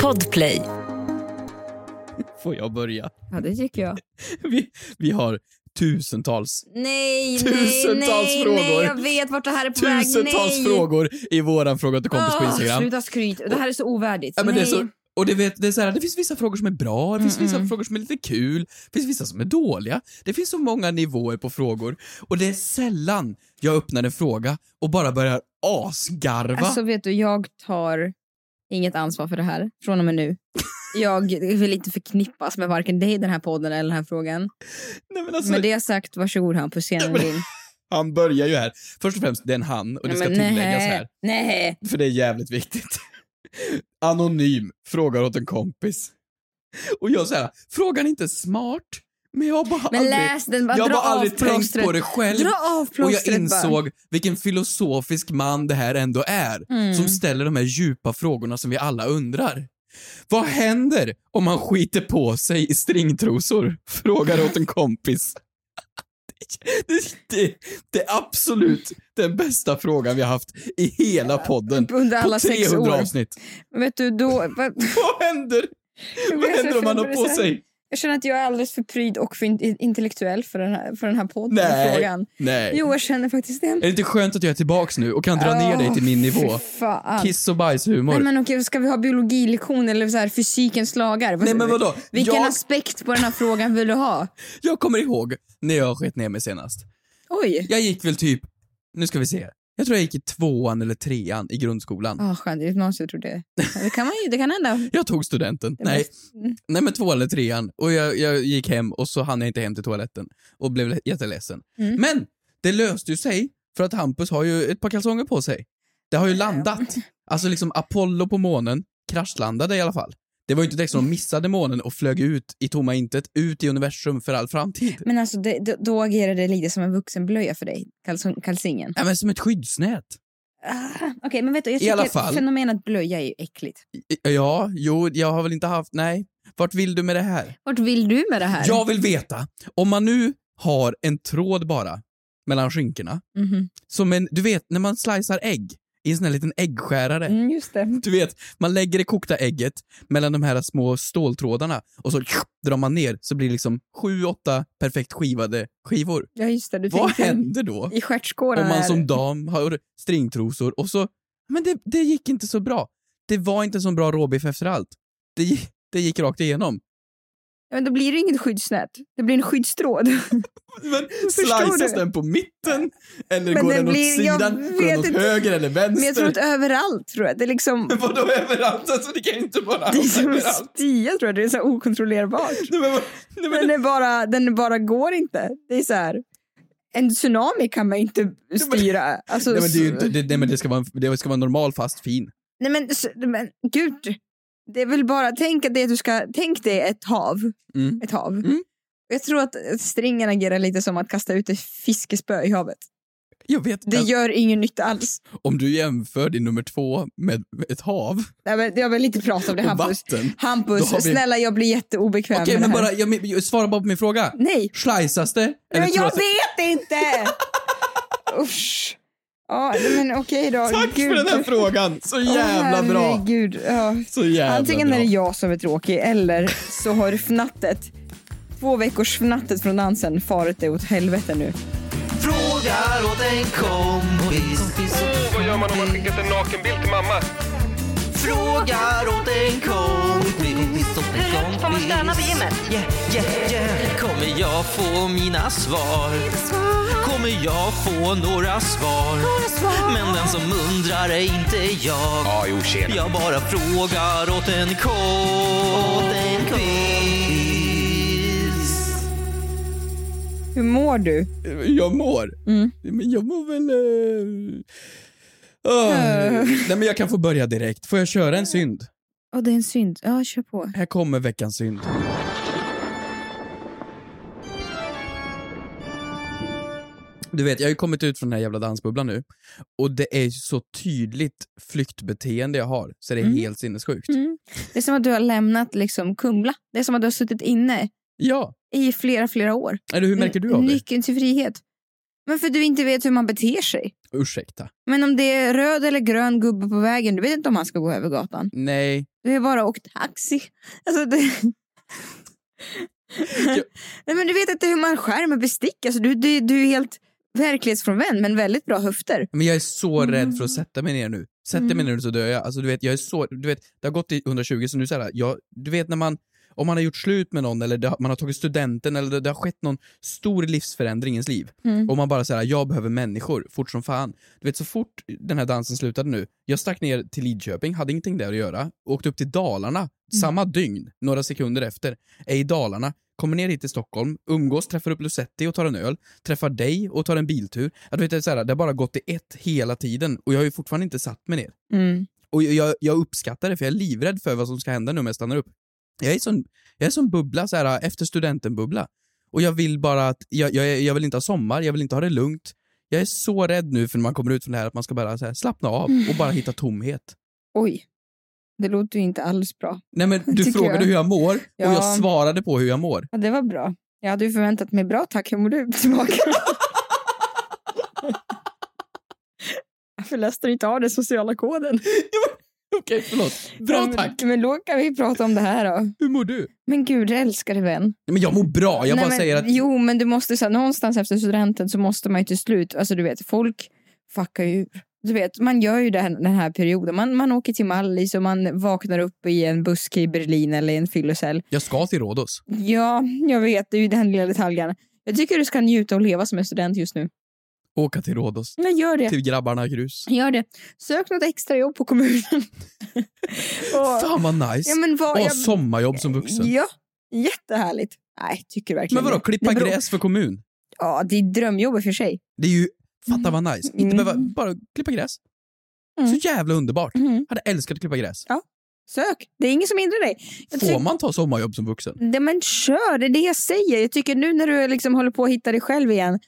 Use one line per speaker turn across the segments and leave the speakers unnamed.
Podplay.
Får jag börja?
Ja, det tycker jag.
Vi, vi har tusentals,
Nej,
Tusentals
nej,
frågor.
nej, jag vet vart det här är på väg.
tusentals
nej.
frågor i våran fråga till kompis på
Åh,
Instagram.
Ah, Sluta skryt. Det här är så ovärdigt.
Ja, men det, är
nej.
så, och det, vet, det, är så här, det finns vissa frågor som är bra, det finns
Mm,
vissa
mm.
frågor som är lite kul, det finns vissa som är dåliga. Det finns så många nivåer på frågor. Och det är sällan jag öppnar en fråga och bara börjar asgarva.
Alltså vet du, jag tar inget ansvar för det här från och med nu. Jag vill inte förknippas med varken dig, den här podden eller den här frågan.
Nej, men alltså
Med det sagt, varsågod han, på scenen din.
Han börjar ju här. Först och främst, det är en han och det ska
Nej, men
tilläggas
nej,
här,
Nej.
för det är jävligt viktigt. Anonym frågar åt en kompis. Och jag säger frågan är inte smart, men jag har bara
Men
aldrig,
läs den, bara
jag har
dra
bara
av
aldrig tänkt
plåstret.
på det själv.
Dra av
Och jag
plåstret bara.
insåg vilken filosofisk man det här ändå är,
Mm.
som ställer de här djupa frågorna som vi alla undrar. Vad händer om man skiter på sig i stringtrosor? Frågar åt en kompis. Det, det, det är absolut den bästa frågan vi har haft i hela podden.
Under alla
På
sex
300
år.
avsnitt.
Vet du, då... Vad,
Vad händer?
jag
Vad
vet
händer om man har
inte,
på
så här-
sig?
Jag känner att jag är alldeles för pryd och för in- intellektuell för den här, för den här podden.
Nej.
och Frågan.
Nej.
Jo, jag känner faktiskt det.
Är det inte skönt att jag är tillbaks nu och kan dra ner dig till min nivå?
Åh, fy Fan.
Kiss och bajshumor.
Nej, men okej, ska vi ha biologilektion eller så här, fysikens lagar? Vad-
Nej men vadå?
Vilken
jag,
aspekt på den här frågan vill du ha?
jag kommer ihåg när jag skett ner mig senast.
Oj!
Jag gick väl typ, nu ska vi se, jag tror jag gick i tvåan eller trean i grundskolan.
Ah, skönt, det är gymnasiet tror det. Ja, Det kan, man ju, det kan hända.
Jag tog studenten.
Det
Nej,
måste- Mm.
nej men tvåan eller trean och jag, jag gick hem och så hann jag inte hem till toaletten och blev le- jätteledsen.
Mm.
Men det löste ju sig för att Hampus har ju ett par kalsonger på sig. Det har ju landat. Alltså liksom Apollo på månen kraschlandade i alla fall. Det var ju inte direkt som de missade månen och flög ut i tomma intet, ut i universum för all framtid.
Men alltså, det, då- då agerar det lite som en vuxenblöja för dig, kalsong, kalsingen.
Ja, men som ett skyddsnät.
Ah, Okej, men vet du, jag
I alla
tycker
fall.
fenomenet blöja är ju äckligt.
Ja, jo, jag har väl inte haft, nej. Vart vill du med det här?
Vart vill du med det här?
Jag vill veta, om man nu har en tråd bara mellan skinkorna,
Mhm.
som en, du vet när man slicear ägg i en sån här liten äggskärare.
Mm, just det.
Du vet, man lägger det kokta ägget mellan de här små ståltrådarna och så drar man ner så blir det liksom sju, åtta perfekt skivade skivor.
Ja, just det. Du
Vad
tänker-
händer då?
I stjärtskålen
Om man
är-
som dam har stringtrosor och så, men det, det gick inte så bra. Det var inte så bra råbiff efter allt. Det, gi- det gick rakt igenom.
Ja, men då blir det inget skyddsnät. Det blir en skyddstråd.
Men
Förstår
sliceas
du?
den på mitten? Eller
Men
går
den
den åt
blir- jag
sidan? Går den
vet
åt
inte.
höger eller
Men jag tror
vänster?
att överallt tror jag. Det är liksom...
Men vadå överallt? Alltså det kan ju inte vara
Det är som en
överallt.
stia tror jag. Det är så här okontrollerbart.
Nej, men vad- nej, men-
Den, är bara, den bara går inte. Det är så här... En tsunami kan man inte styra. Alltså,
Nej men det är ju inte, det, nej, men det ska vara, en- det ska vara en normal fast fin.
Nej men, s- men gud. Det är väl bara, tänk att det du ska, tänk dig ett hav.
Mm.
Ett hav.
Mm.
Jag tror att stringen agerar lite som att kasta ut ett fiskespö i havet.
Jag vet,
Det
alltså,
gör ingen nytta alls.
om du jämför din nummer två med ett hav
Nej, men Jag vill inte prata om det
och
Hampus.
vatten.
Hampus,
Då har vi-
snälla jag blir jätteobekväm
Okej
med
men
det här.
bara, jag, men- svara bara på min fråga.
Nej,
Schleisas det? Eller
men
tror
jag vet
att-
inte! Usch. Ja, men okej då.
Tack
Gud.
för den här frågan! Så jävla
Åh,
bra!
Herregud. Ja.
Så jävla
Antingen
bra.
är det jag som är tråkig eller så har fnattet, två veckors fnattet från dansen farit det åt helvete nu.
Frågar åt en kompis.
Vad gör man om man skickat en nakenbild till mamma?
Frågar åt en kompis.
Hur högt får man stöna på gymmet?
Yeah, yeah, yeah. Kommer jag få mina svar? Kommer jag få några svar? Men den som undrar är inte jag.
Ja, jo, tjena.
Jag bara frågar åt en kompis.
Hur mår du?
Jag mår.
Mm.
Men jag mår väl... eh, ah. Nej men jag kan få börja direkt. Får jag köra en synd?
Åh, det är en synd. Ja, kör på.
Här kommer veckans synd. Du vet, jag har ju kommit ut från den här jävla dansbubblan nu och det är ju så tydligt flyktbeteende jag har så det är
Mm.
helt sinnessjukt.
Mm. Det är som att du har lämnat liksom Kumla. Det är som att du har suttit inne
Ja,
i flera, flera år.
eller hur märker du av det?
Nyckeln till frihet. Men för du inte vet hur man beter sig.
Ursäkta.
Men om det är röd eller grön gubbe på vägen, du vet inte om han ska gå över gatan.
Nej.
Du är bara åkt taxi. Alltså det... Nej, men du vet inte hur man skär med bestick. Alltså, du, du, du är helt verklighetsfrånvänd men väldigt bra höfter.
Men jag är så rädd för att sätta mig ner nu. Sätter jag mig ner nu så dör jag. Alltså, du vet, jag är så, du vet, det har gått i 120 så nu så här, jag, du vet när man, om man har gjort slut med någon eller det, har- man har tagit studenten eller det, det har skett någon stor livsförändring i ens liv.
Mm.
Och man bara säger jag behöver människor, fort som fan. Du vet så fort den här dansen slutade nu, jag stack ner till Lidköping, hade ingenting där att göra, åkte upp till Dalarna, samma dygn, några sekunder efter, är i Dalarna, kommer ner hit till Stockholm, umgås, träffar upp Lucetti och tar en öl, träffar dig och tar en biltur. Ja, du vet, det, är så här, det har bara gått i ett hela tiden och jag har ju fortfarande inte satt mig ner.
Mm.
Och jag- jag, jag uppskattar det för jag är livrädd för vad som ska hända nu om jag stannar upp. Jag är sån, jag är sån bubbla, så här, efter studenten-bubbla. Och jag vill bara att, jag, jag, jag vill inte ha sommar, jag vill inte ha det lugnt. Jag är så rädd nu för när man kommer ut från det här att man ska bara så här, slappna av
Mm.
och bara hitta tomhet.
Oj, det låter ju inte alls bra.
Nej men du
Tycker
frågade
jag.
hur jag mår och
Ja.
jag svarade på hur jag mår.
Ja, det var bra. Jag hade ju förväntat mig bra, tack. Hur mår du? Tillbaka. Varför läste du inte av den sociala koden?
Okej, förlåt.
Ja,
Bra
men-
tack.
Men då kan vi prata om det här då.
Hur mår du?
Men gud, jag älskar dig vän.
Nej, men jag mår bra, jag
Nej,
bara
men,
säger att...
Jo, men du måste så här, någonstans efter studenten så måste man ju till slut, alltså du vet, folk fuckar ju ur. Du vet, man gör ju den, den här perioden. Man, man åker till Mallis och man vaknar upp i en buske i Berlin eller i en fyllecell.
Jag ska till Rhodos.
Ja, jag vet, det är ju den lilla detaljen. Jag tycker du ska njuta och leva som en student just nu.
Åka till Rhodos.
Men gör det.
Till grabbarna grus.
Gör det. Sök något extra jobb på kommunen. och,
Fan vad nice.
ja, men vad,
Åh,
jag,
sommarjobb som vuxen.
ja, jättehärligt. Nej, tycker du verkligen
Men vadå,
det?
klippa
Det beror-
gräs för kommun?
Ja, det är drömjobb i och för sig.
Det är ju, fatta vad nice. Inte
Mm.
behöva, bara klippa gräs.
Mm.
Så jävla underbart.
Mm.
Hade älskat att klippa gräs.
Sök. Det är ingen som hindrar dig. Jag
Får
tyck-
man ta sommarjobb som vuxen?
Nej, men kör, det är det jag säger. Jag tycker nu när du liksom håller på att hitta dig själv igen,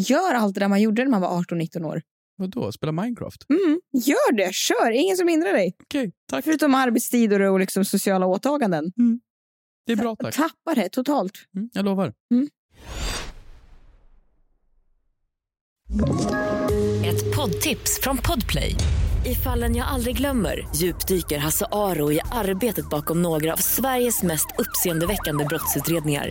gör allt det där man gjorde när man var 18-19 år.
Vadå, spela Minecraft?
Mm, gör det, kör, ingen som hindrar dig.
Okej, tack.
Förutom arbetstider och liksom sociala åtaganden.
Det är bra tack.
Tappa det totalt.
Mm, jag lovar.
Ett poddtips från Podplay. I fallen jag aldrig glömmer djupdyker Hasse Aro i arbetet bakom några av Sveriges mest uppseendeväckande brottsutredningar.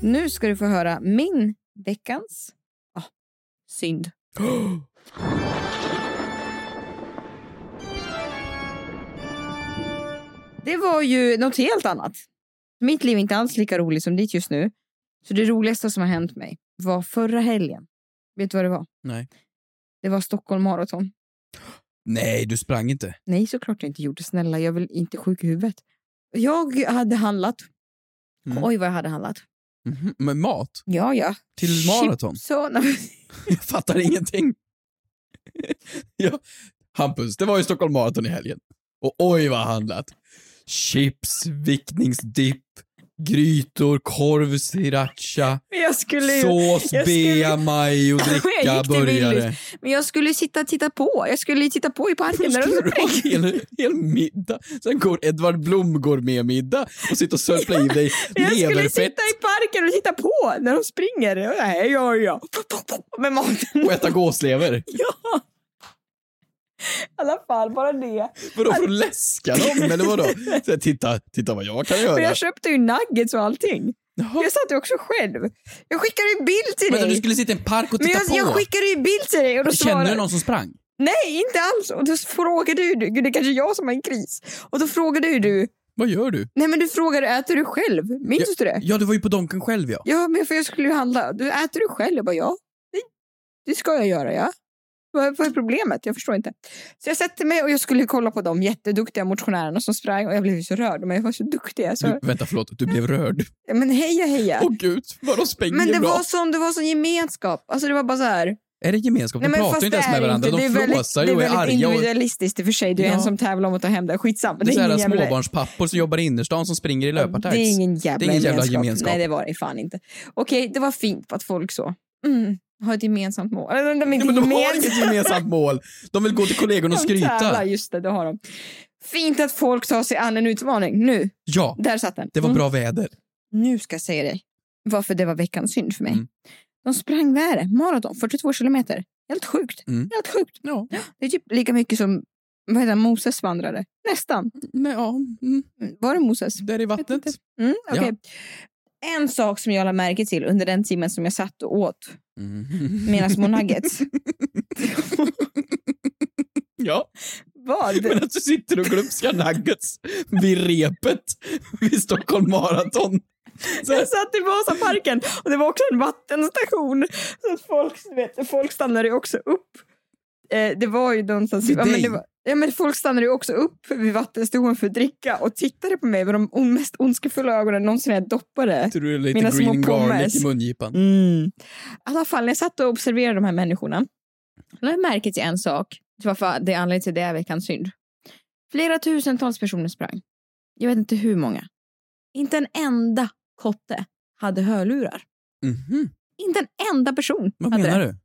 Nu ska du få höra min veckans ah, synd. Det var ju något helt annat. Mitt liv är inte alls lika roligt som ditt just nu. Så det roligaste som har hänt mig var förra helgen. Vet du vad det var?
Nej.
Det var Stockholm maraton.
Nej, du sprang inte.
Nej, såklart jag inte gjorde. Snälla, jag vill inte sjuk i huvudet. Jag hade handlat.
Mm.
Oj, vad jag hade handlat.
Mhm, Med mat?
Ja, ja.
Till maraton?
Chips och- nej, men-
Jag fattar ingenting. ja. Hampus, det var ju Stockholm Marathon i helgen. Och oj vad handlat. Chips, vickningsdipp, grytor, korv, sriracha,
Men jag skulle ju...
sås,
jag skulle-
bea, majo,
Jag
dricka,
gick till
burgare.
Willys. Men jag skulle ju sitta och titta på. Jag skulle ju titta på i parken. När
Skulle
de
du ha en hel, hel middag? Sen går Edvard Blom går med middag och sitter och sörplar i dig
jag skulle
leverfett
sitta i parken och titta på när de springer. Och Nej, ja, ja. Med maten.
och äta gåslever.
Ja. I alla fall, bara det.
Vadå, för att läska dem eller vadå? Så här, titta, titta vad jag kan
Men
göra.
jag köpte ju nuggets och allting.
Jaha.
Jag satt ju också själv. Jag skickade ju bild till
Men du
dig.
skulle sitta i en park och
Men
titta
jag, jag
på.
skickade ju bild till dig och då
Känner
svarade...
du någon som sprang?
Nej, inte alls. Och då frågade ju du, gud det är kanske är jag som har en kris. Och då frågade ju du,
Vad gör du?
nej men du frågade äter du själv? Minns du det?
Ja, du var ju på Donken själv ja.
Ja, men för jag skulle ju handla. Du äter du själv? Jag bara, ja. Det, det ska jag göra, ja. Vad, vad är problemet? Jag förstår inte. Så jag sätter mig och jag skulle kolla på de jätteduktiga motionärerna som sprang och jag blev ju så rörd. Men jag var så duktiga. Så,
Du, vänta, förlåt. Du blev rörd.
Ja, Men heja, heja.
Åh gud, vad de spänger
men det
bra.
var, sån, det var sån gemenskap. Alltså det var bara så här.
Är det gemenskap? De pratar ju inte ens
det
med
är
varandra.
inte.
De
Det är
flåsar ju och
väldigt,
är
Det är väldigt
arga. Och
individualistiskt i och för sig. Du är
Ja.
en som tävlar om att ta hem det. Skitsamma.
det är så här
ingen jävla-
småbarnspappor som jobbar i innerstan som springer i
Det är
löpartights.
ingen jävla,
Det är ingen jävla gemenskap.
Nej, det var det fan inte. Okej, det var fint att folk så. Mm, har ett gemensamt mål. Eller, de är
Ja,
inte
men de har
gemensamt.
inget gemensamt mål. De vill gå till kollegorna och
De tävlar,
skryta.
Just det, det har de. Fint att folk tar sig an en utmaning. Nu,
Ja,
där satt den.
det var
Mm.
bra väder.
Nu ska jag säga dig varför det var veckans synd för mig.
Mm.
De sprang värre. Maraton, 42 kilometer. Helt sjukt.
Mm.
Helt sjukt.
Ja,
Det är typ lika mycket som vad heter han, Moses vandrade. Nästan.
men, ja mm,
Mm, Var det Moses?
där i vattnet.
Mm, okej. En sak som jag lade märke till under den timmen som jag satt och åt
Mm.
mina små nuggets
Ja,
var
men att du sitter och glupskar nuggets vid repet vid Stockholm Marathon. Så här,
Jag satt i Vasaparken och det var också en vattenstation. Så att folk, du vet, folk stannade ju också upp. Eh, det var ju någonstans...
Vid
Ja men,
dig?
det var, ja, men folk stannade ju också upp vid vattenstationen för att dricka och tittade på mig med de on- mest ondskefulla ögonen någonsin när jag doppade.
tror du lite
Mina små
green garlic
pommes.
i mungipan.
Mm. I alla fall, när jag satt och observerade de här människorna lade jag märke till en sak. till Varför det är anledningen till det är veckans synd. Flera tusentals personer sprang. Jag vet inte hur många. Inte en enda kotte hade hörlurar.
Mhm.
Inte en enda person.
Vad
hade
menar
det.
du?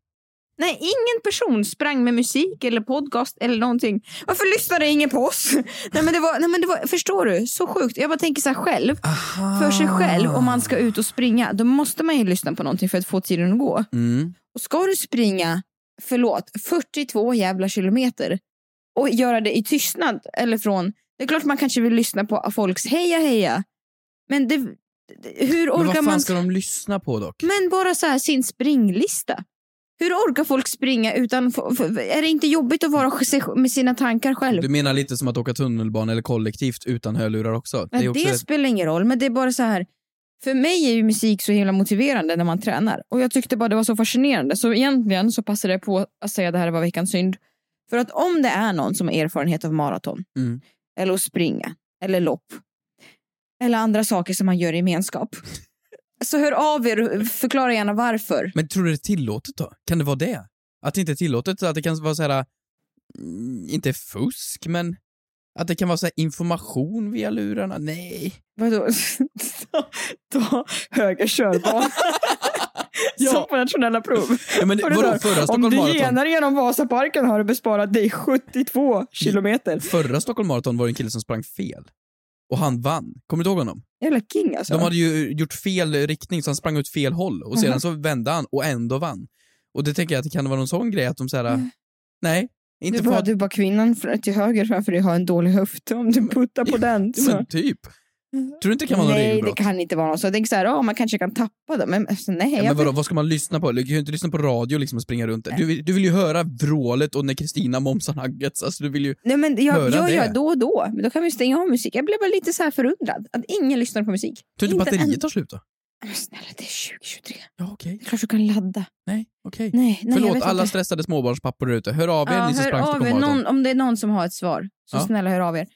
Nej, ingen person sprang med musik eller podcast eller någonting. Varför lyssnade ingen på oss? nej, men det var, nej, men det var, förstår du? Så sjukt. Jag bara tänker så här själv.
Aha.
För sig själv, om man ska ut och springa, då måste man ju lyssna på någonting för att få tiden att gå.
Mm.
Och ska du springa, förlåt, 42 jävla kilometer och göra det i tystnad eller från, det är klart man kanske vill lyssna på folks heja heja. Men det, det- hur
Men vad
orkar
fan
man?
ska de lyssna på dock?
Men bara så här sin springlista. Hur orkar folk springa utan, f- f- är det inte jobbigt att vara sig- med sina tankar själv?
Du menar lite som att åka tunnelbana eller kollektivt utan hörlurar också?
Men det,
också ett-
spelar ingen roll, men det är bara så här. För mig är ju musik så himla motiverande när man tränar. Och jag tyckte bara det var så fascinerande. Så egentligen så passade jag på att säga att det här var veckans synd. För att om det är någon som har erfarenhet av maraton.
Mm.
Eller att springa. Eller lopp. Eller andra saker som man gör i gemenskap. Så hör av er och förklara gärna varför.
Men tror du det är tillåtet då? Kan det vara det? Att det inte är tillåtet? Att det kan vara så här, mm, inte fusk, men att det kan vara så här information via lurarna? Nej.
Vadå? Ta- Ta höger körbana. Som på nationella prov.
Ja, men
Och det
vadå,
där,
förra
Om
Stockholm
du
Marathon?
genar genom Vasaparken har du besparat dig 72 kilometer.
Förra Stockholm Marathon var det en kille som sprang fel. Och han vann. Kommer du ihåg honom?
Jävla king alltså.
De hade ju eh, gjort fel riktning, så han sprang åt fel håll. Och
Mhm.
sedan så vände han och ändå vann. Och det tänker jag att det kan vara någon sån grej att de så här, eh,
Mm.
nej,
du,
inte för
bara,
att...
du bara kvinnan fr- till höger framför dig har en dålig höft. Om du puttar på den
Ja,
så.
Men typ. Tror du inte det kan vara något
Mm. nej,
regelbrott?
det kan inte vara något så. Jag tänker så här, ja, man kanske kan tappa dem. Men alltså, nej,
Ja,
jag
men vadå, vad ska man lyssna på? Du kan ju inte lyssna på radio liksom och springa runt där. Du, vill- du vill ju höra vrålet och när Kristina momsar nuggets. Alltså, du vill ju...
nej, men jag,
höra
jag
det.
gör då och då. Men då kan vi stänga av musik. Jag blev bara lite så här förundrad. Att ingen lyssnar på musik.
Tror du inte
en-
batteriet tar slut då?
Men snälla, det är 2023.
Ja, okej.
Det är klart du kan ladda.
Nej, okej.
Nej, nej jag
Förlåt
vet
alla
inte.
stressade småbarnspappor där ute. Hör av er,
Ja,
ni som
hör
sprang
av er.
Stockholm Marathon.
Någon, om det är någon som har ett svar, så
Ja.
snälla hör av er.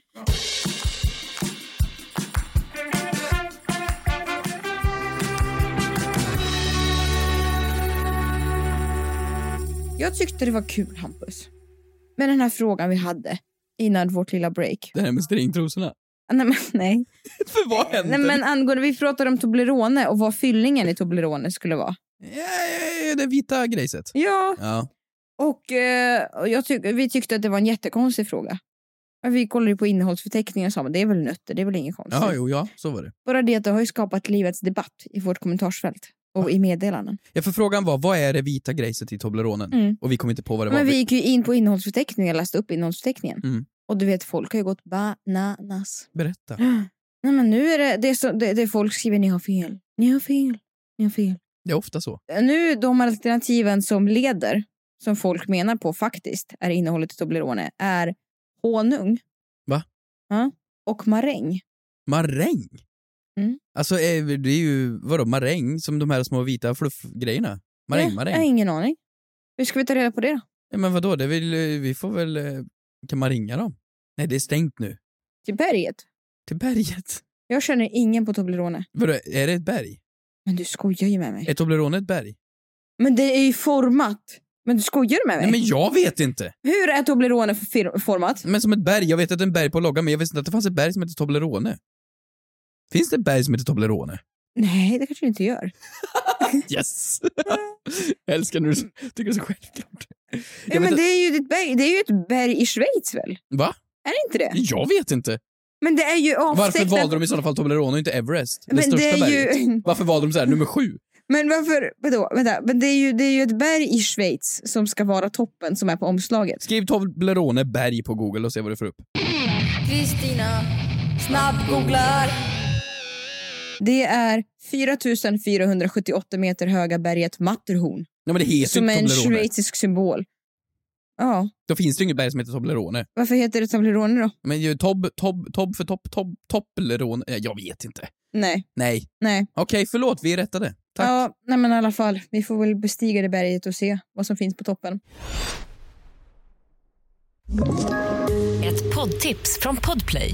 Jag tyckte det var kul, Hampus, med den här frågan vi hade innan vårt lilla break.
Det här med stringtrosorna.
Nej, men, nej.
För vad händer?
nej men angående, vi pratade om Toblerone och vad fyllningen i Toblerone skulle vara.
Ja, ja, ja, det vita grejset.
Ja,
Ja.
Och, eh, och jag tyck, vi tyckte att det var en jättekonstig fråga. Men Vi kollade ju på innehållsförteckningen och sa men det är väl nötter, det är väl inget konstigt.
ja, jo, ja, så var det.
Bara det att det har ju skapat livets debatt i vårt kommentarsfält och i meddelanden.
Ja, för frågan var, vad är det vita grejset i Tobleronen?
Mm.
Och vi kom inte på vad det var.
Men vi gick ju in på innehållsförteckningen, jag läste upp innehållsförteckningen.
Mm.
Och du vet, folk har ju gått bananas.
Berätta.
Nej men nu är det, det, är så, det, det folk skriver, ni har fel, ni har fel, ni har fel.
Det är ofta så.
Nu de alternativen som leder, som folk menar på faktiskt, är innehållet i Toblerone, är honung.
Va?
Ja. Och maräng.
Maräng?
Mm.
Alltså, är- det är ju, vadå, maräng? Som de här små vita fluffgrejerna? Maräng,
Ja,
maräng.
Jag har ingen aning. Hur ska vi ta reda på det då?
Ja, men vadå, det vill, vi får väl... eh, Kan man ringa dem? Nej, det är stängt nu.
Till berget?
Till berget.
Jag känner ingen på Toblerone.
Vadå, är det ett berg?
Men du skojar ju med mig.
Är Toblerone ett berg?
Men det är ju format Men du skojar med mig?
Nej men jag vet inte.
Hur är Toblerone för fir- format?
Men som ett berg, jag vet att det är en berg på loggan men jag visste inte att det fanns ett berg som heter Toblerone. Finns det ett berg som heter Toblerone?
Nej, det kanske du inte gör.
Yes! jag älskar när du tycker det är så självklart.
Nej,
Jag vet,
men
inte-
det är, ju ett berg, det är ju ett berg i Schweiz väl?
Va?
Är det inte det?
Jag vet inte.
Men det är ju
Varför
avtecknat...
valde de i sådana fall Toblerone och inte Everest? Det
men
största
det är
berget.
ju,
Varför valde de så här, nummer sju?
Men varför... Vadå? Vänta. Men det är, ju, det är ju ett berg i Schweiz som ska vara toppen som är på omslaget.
Skriv Toblerone berg på Google och se vad du får upp.
Kristina snabbgooglar.
Det är 4478 meter höga berget Matterhorn
Nej men det heter
som
ju
är en
inte Toblerone.
schweizisk symbol. Ja,
Då finns det ju inget berg som heter Toblerone.
varför heter det Toblerone då?
Men ju Tob, Tob, Tob för Topp, Tob, Toblerone. Eh, Jag vet inte.
Nej,
Nej.
nej.
Okej, förlåt, vi rättade. Tack.
Ja, nej men i alla fall. Vi får väl bestiga det berget och se vad som finns på toppen.
Ett poddtips från Podplay.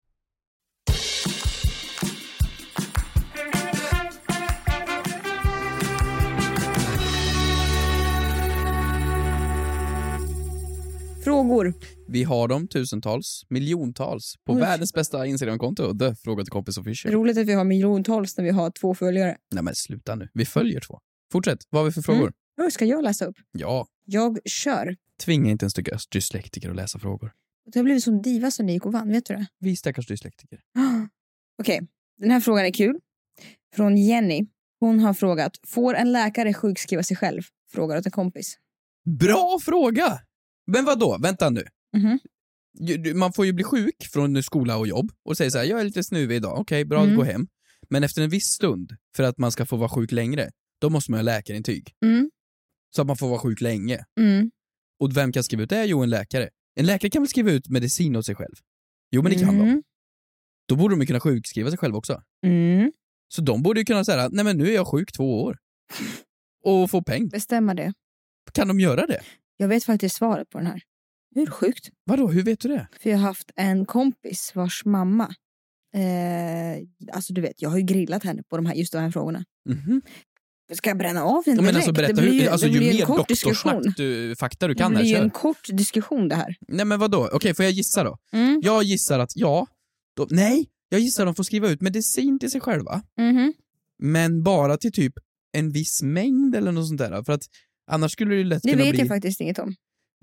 Frågor.
Vi har dem tusentals, miljontals, på världens bästa Instagramkonto. The Fråga till kompis official.
Roligt att vi har miljontals när vi har två följare.
Nej men sluta nu. Vi följer två. Fortsätt. Vad har vi för frågor?
Mm. Oh, ska jag läsa upp?
Ja.
Jag kör.
Tvinga inte en stackars dyslektiker att läsa frågor.
Det har blivit som diva som ni gick och vann, vet du det?
Vi stackars dyslektiker.
Okej, den här frågan är kul. Från Jenny. Hon har frågat, får en läkare sjukskriva sig själv? Frågar åt en kompis.
Bra fråga! Men vad då? Vänta nu.
Mhm.
Ju- du- Man får ju bli sjuk från skola och jobb och säga så här, jag är lite snuvig idag, okej, bra,
Mm.
gå hem. Men efter en viss stund, för att man ska få vara sjuk längre, då måste man ha läkarintyg.
Mm.
Så att man får vara sjuk länge.
Mm.
Och vem kan skriva ut det? Jo, en läkare. En läkare kan väl skriva ut medicin åt sig själv? Jo, men det kan de.
mm.
Då borde de ju kunna sjukskriva sig själva också.
Mm.
Så de borde ju kunna säga, nej men nu är jag sjuk två år. Och få peng.
Bestämma det.
Kan de göra det?
Jag vet faktiskt svaret på den här. Hur sjukt?
Vadå, hur vet du det?
För jag har haft en kompis vars mamma, eh, alltså du vet, jag har ju grillat henne på de här, just de här frågorna.
Mhm.
Ska jag bränna av den
Ja,
direkt?
men alltså, berätta, hur, alltså,
det
ju
blir en
mer
kort diskussion.
doktorsnack du, fakta du
Det
kan här,
blir ju
kör.
en kort diskussion det här.
Nej men vadå, okej får jag gissa då?
Mm.
Jag gissar att ja, de, nej, jag gissar att de får skriva ut medicin till sig själva,
Mhm.
men bara till typ en viss mängd eller något sånt där, för att annars skulle det ju lätt
Det
kunna
vet
bli...
jag faktiskt inget om.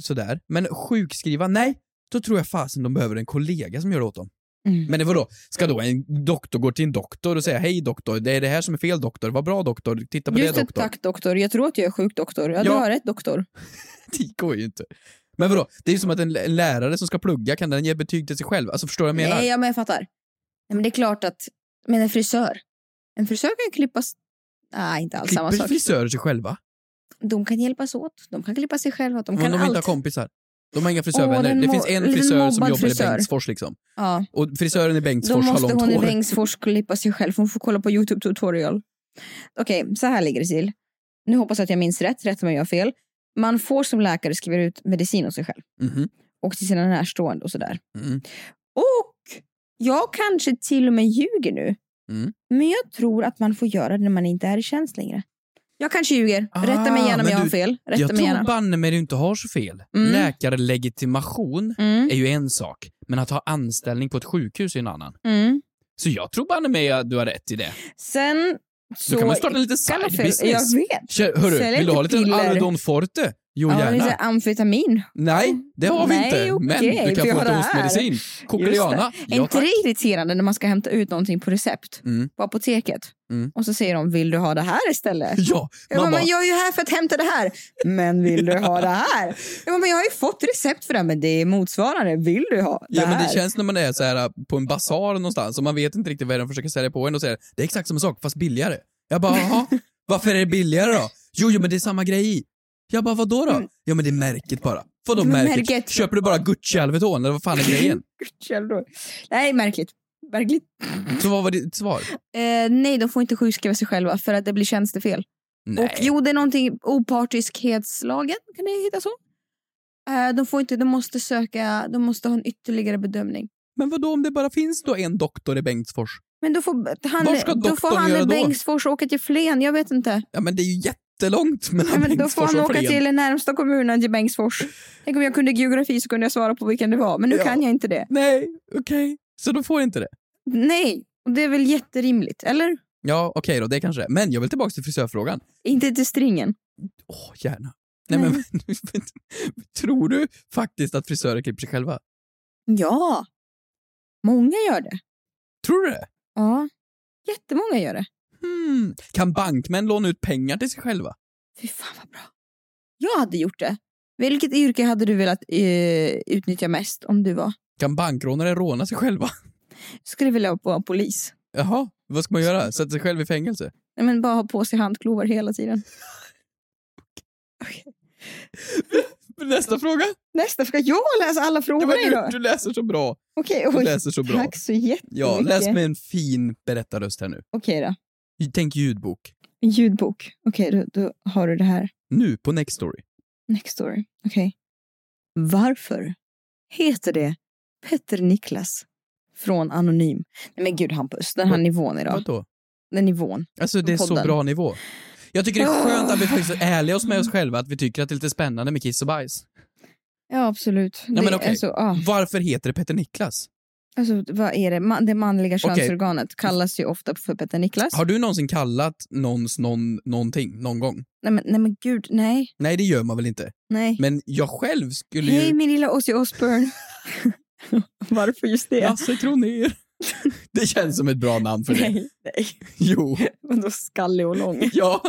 sådär. Men sjukskriva, nej, då tror jag fasen de behöver en kollega som gör det åt dem.
Mm.
Men det var då, ska då en doktor gå till en doktor och säga hej doktor, det är det här som är fel doktor, vad bra doktor, titta på
Just
det
det,
doktor.
tack doktor. Jag tror att jag är sjuk doktor. Ja, du
Ja.
har rätt doktor.
Det går ju inte. Men vadå, det är ju som att en, en lärare som ska plugga, kan den ge betyg till sig själv? Alltså förstår du vad jag menar?
Nej, ja, men jag fattar. Nej, men det är klart att, men en frisör. En frisör kan ju klippas, nej inte alls samma
Klipper
sak.
frisörer sig själva?
De kan hjälpas åt, de kan klippa sig själva, de
Om
kan
de inte har
allt.
kompisar. De har inga
Åh,
frisörvänner.
den
det
mo-
finns en
liten
frisör som
mobbad
jobbar
frisör.
i Bengtsfors liksom.
ja.
Och frisören i
Då
Bengtsfors har
måste
långt
hon i
hår.
Bengtsfors klippa sig själv. Hon får kolla på Youtube tutorial. Okej, så här ligger det till. Nu hoppas jag att jag minns rätt. Rätt om jag har fel. Man får som läkare skriva ut medicin åt sig själv
Mhm.
och till sina närstående och sådär.
Mm.
Och jag kanske till och med ljuger nu.
Mm.
Men jag tror att man får göra det när man inte är i tjänst längre. Jag kanske ljuger.
Ah,
Rätta mig gärna om
men
jag har
du-
fel. Rätta
Jag
mig gärna.
tror banne mig du inte har så fel.
Mm.
Läkarlegitimation
Mm,
är ju en sak, men att ha anställning på ett sjukhus är en annan.
mm.
Så jag tror banne mig att du har rätt i det.
Sen så...
Så kan man starta en liten
kan man
side
fel.
business.
Jag vet.
Kör, hörru,
Sälja
vill du
lite
ha lite
piller.
Alvedon Forte? Jo,
Ja,
gärna.
lite amfetamin.
Nej, det har vi
Nej,
inte.
okej,
men du kan
för
få
jag har
lite
det här.
hostmedicin. Kokoliana.
Är
Ja,
inte
tack.
det irriterande när man ska hämta ut någonting på recept
Mm.
på apoteket?
Mm.
Och så säger de, vill du ha det här istället?
Ja,
Jag bara,
man bara,
men jag är ju här för att hämta det här. Men vill du ha det här? Jag bara, men jag har ju fått recept för det här, men det är motsvarande. Vill du ha det
Ja,
här?
men det känns när man är så här äh, på en basar någonstans och man vet inte riktigt vad de försöker sälja på en och säger det är exakt samma sak fast billigare. Jag bara, jaha, varför är det billigare då? Jo, jo, men det är samma grej i. Jag bara, vad då då? Ja, men det är märket bara. Vadå
Mm. Men
märket?
märket-
Köper du bara gucci Alvedon eller vad fan är grejen?
Gud, källor. Nej, märkligt. Märkligt.
Så vad var ditt svar?
Eh, nej, de får inte sjukskriva sig själva för att det blir tjänstefel. Och
Nej.
jo, det är någonting opartiskhetslagen, kan ni hitta så? Eh, de får inte, de måste söka, de måste ha en ytterligare bedömning.
Men vad då om det bara finns då en doktor i Bengtsfors?
Men då får han,
Var ska
då får
doktorn göra
han i
då?
Bengtsfors åka till Flen, jag vet inte.
Ja men det är ju jättelångt mellan
Nej, men då får
Bengtsfors
han
och
åka
Flen.
till närmsta kommunen till Bengtsfors. Tänk om jag kunde geografi så kunde jag svara på vilken det var, men nu
Ja.
kan jag inte det.
Nej, okej. Så de får inte det?
Nej, och det är väl jätterimligt, eller?
Ja, okej då, det kanske det är. Men jag vill tillbaka till frisörfrågan.
Inte till stringen.
Åh, gärna. Nej, men, tror du faktiskt att frisörer klipper sig själva?
Ja, många gör det.
Tror du det?
Ja, jättemånga gör det.
Hmm. Kan bankmän låna ut pengar till sig själva?
Fy fan vad bra. Jag hade gjort det. Vilket yrke hade du velat eh, utnyttja mest om du var?
Kan bankrånare råna sig själva?
Jag skulle vilja vara polis.
Jaha, vad ska man göra? Sätta sig själv i fängelse?
Nej, men bara ha på sig handklovar hela tiden.
Nästa fråga!
Nästa fråga. Jag läser alla
Ja, men
frågorna
du,
idag.
du läser så bra.
Okej,
Du
oj.
läser så bra.
Tack så jättemycket.
Ja, läs med en fin berättarröst här nu.
Okej då.
Tänk ljudbok.
En ljudbok. Okej, då, då har du det här.
Nu på Next Story.
Next story. Okej. Varför heter det Petter Niklas från Anonym? Nej men gud Hampus, den här
Vad-
nivån idag.
Vadå?
Den nivån.
Alltså det är så
Podden.
bra nivå. Jag tycker det är skönt att vi faktiskt är ärliga oss med oss själva, att vi tycker att det är lite spännande med kiss och bajs.
Ja absolut.
men
det,
okej.
alltså, ja.
Varför heter det Petter Niklas?
Alltså, vad är det? Man, det manliga
Okej.
könsorganet kallas ju ofta för Petter Niklas.
Har du någonsin kallat någons någon, någonting någon gång?
Nej, men, nej men gud, nej.
Nej, det gör man väl inte.
nej.
Men jag själv skulle
Hej
ju...
min lilla Ozzy Osbourne. Varför just det?
Lasse Kronér. Det känns som ett bra namn för det.
nej, nej.
Jo,
Vadå skallig och lång?
ja,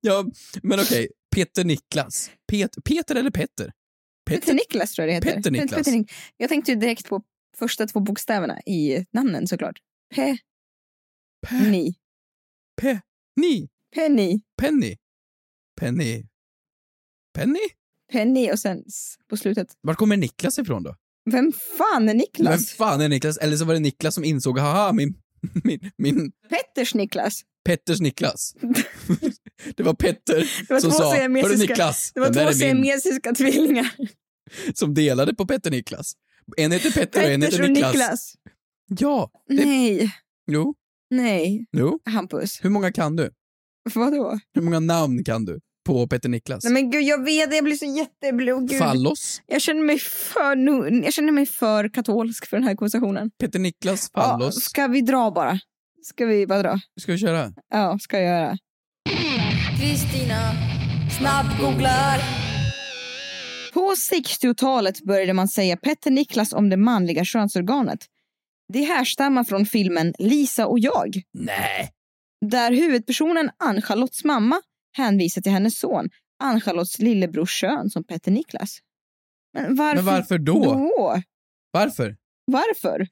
ja. Men okej, Peter Niklas. Pet, Peter eller Petter?
Petter Niklas tror jag det heter.
Petter Niklas.
Petter Nik- jag tänkte ju direkt på första två bokstäverna i namnen såklart.
Pe,
Penny.
pe, ni,
Penny.
Penny. Penny. Penny?
Penny och sen s- på slutet.
Var kommer Niklas ifrån då?
Vem fan är
Vem
Niklas?
fan är Niklas? Eller så var det Niklas som insåg, haha, min, min, min
Petters Niklas.
Petters Niklas. det var Petter
Det var
som
två
sa, hörru
siamesiska-
Niklas,
Det var
den där
två
är min,
siamesiska tvillingar.
som delade på Petter Niklas. En heter Petter och en
Petters
heter
och
Niklas.
Niklas.
Ja, Det-
Nej,
jo,
nej,
jo.
Hampus.
Hur många kan du?
Vadå?
Hur många namn kan du på Petter Niklas?
Nej men gud, jag vet, jag blir så jätteblå. Gud.
Fallos,
Jag känner mig för, nu, jag känner mig för katolsk för den här konversationen.
Petter Niklas,
Ja,
Fallos.
ska vi dra bara? Ska vi bara dra?
Ska vi köra?
Ja, ska jag göra.
Kristina snabbgooglar.
På 60-talet började man säga Petter Niklas om det manliga könsorganet. Det härstammar från filmen Lisa och jag,
Nej.
där huvudpersonen Ann-Charlottes mamma hänvisar till hennes son, Ann-Charlottes lillebrors kön som Petter Niklas. Men varför,
Men varför då?
då?
Varför?
Varför?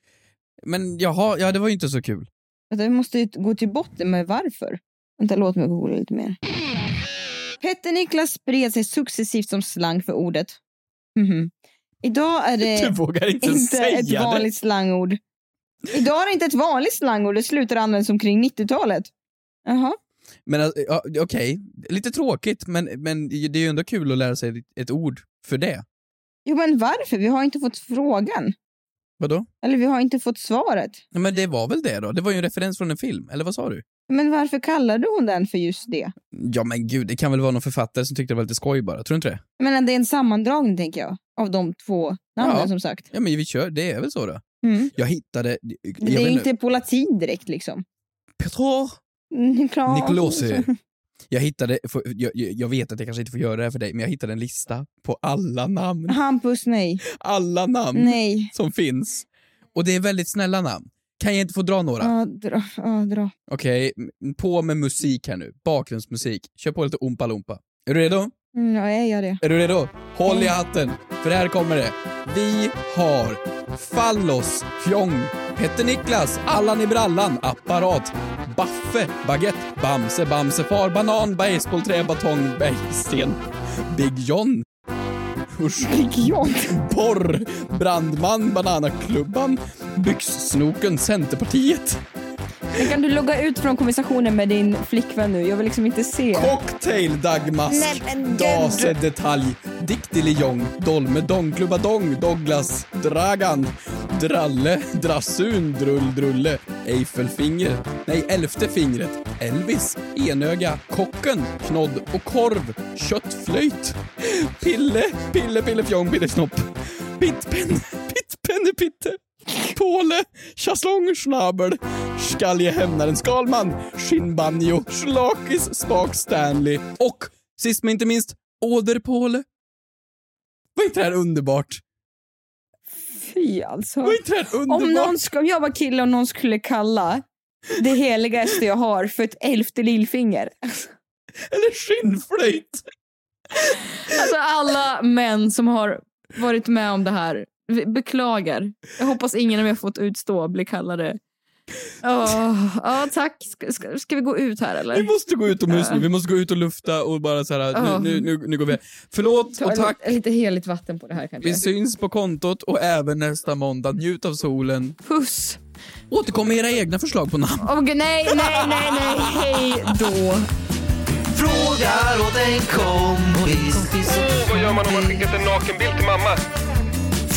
Men jaha, ja det var ju inte så kul.
Vänta, vi måste ju gå till botten med varför. Vänta, låt mig googla lite mer. Petter Niklas spred sig successivt som slang för ordet. Mhm. Idag är det...
Du vågar inte,
Eh, inte
säga
ett vanligt slangord. Idag är det inte ett vanligt slangord, det slutar användas omkring 90-talet. Jaha.
det. Men alltså, ja, okej, lite tråkigt men, men det är ju ändå kul att lära sig ett ord för det.
Jo men varför? Vi har inte fått frågan.
Vadå?
Eller vi har inte fått svaret.
Ja, men det var väl det då? Det var ju en referens från en film, eller vad sa du?
Men varför kallade hon den för just det?
Ja men gud, det kan väl vara någon författare som tyckte det var lite skoj bara, tror du inte det?
Jag menar, det är en sammandragning tänker jag. Av de två namnen
Ja.
som sagt.
Ja men vi kör, det är väl så då.
Mm.
Jag hittade... Jag
Det är
vet
ju
inte.
inte på latin direkt liksom.
Petro
Mm, klar.
Nicolosi. Jag hittade, får- jag, jag jag vet att jag kanske inte får göra det här för dig, men jag hittade en lista på alla namn.
Hampus, nej.
Alla namn
Nej.
som finns. Och det är väldigt snälla namn. Kan jag inte få dra några?
Ja, dra. Ja, dra.
Okej, m- på med musik här nu. Bakgrundsmusik. Kör på lite Oompa Loompa. Är du redo?
Mm, ja, jag gör det.
Är du redo? Håll i hatten, för här kommer det. Vi har Fallos, Fjong, Petter Niklas, Allan i brallan, Apparat, Baffe, Baguette, Bamse, Bamsefar, Banan, Baseballträ, Batong, Bergsten, Big John, människors
Religion.
porr. Brandman, Bananaklubban, Byxsnoken, Centerpartiet,
Men kan du logga ut från konversationen med din flickvän nu? Jag vill liksom inte se.
Cocktail,
Nej,
Dagmask,
men gud.
Dase, Detalj, Diktiljong, Dolme, Dong, Klubbadong, Douglas, Dragan, Dralle, Drasun, Drull, Drulle, Eiffelfingret, nej, Elfte fingret, Elvis, Enöga, Kocken, Knodd och Korv, Köttflöjt, Pille, Pille, Pillefjong, Pillesnopp, Pittpenne, Pittpenne, Pitte, Påle, Schäslong, Schnabel, Skalje, Hämnaren, Skalman, Skinnbanjo, Schlakis, Spak, Stanley och sist men inte minst Åderpåle. Var inte det här underbart?
Fy alltså.
Var inte det här underbart?
Om, någon sk- om jag var kille och någon skulle kalla det heligaste jag har för ett elfte lillfinger.
Eller skinnflöjt!
Alltså alla män som har varit med om det här vi beklagar. Jag hoppas ingen av er fått utstå blir kallade. Åh, ja, tack. Ska, ska, ska vi gå ut här
Vi
eller?
måste gå utomhus nu, vi måste gå ut och lufta och bara så här,
Ja.
nu, nu, nu, nu går vi. Förlåt och tack.
Lite, lite heligt vatten på det här
Vi
kanske.
syns på kontot och även nästa måndag. Njut av solen.
Puss.
Återkom med era egna förslag på namn.
Åh, gud, nej, nej, nej, nej. Hej då.
Frågar åt en kompis.
Åh, vad gör man om man skickat en nakenbild till mamma?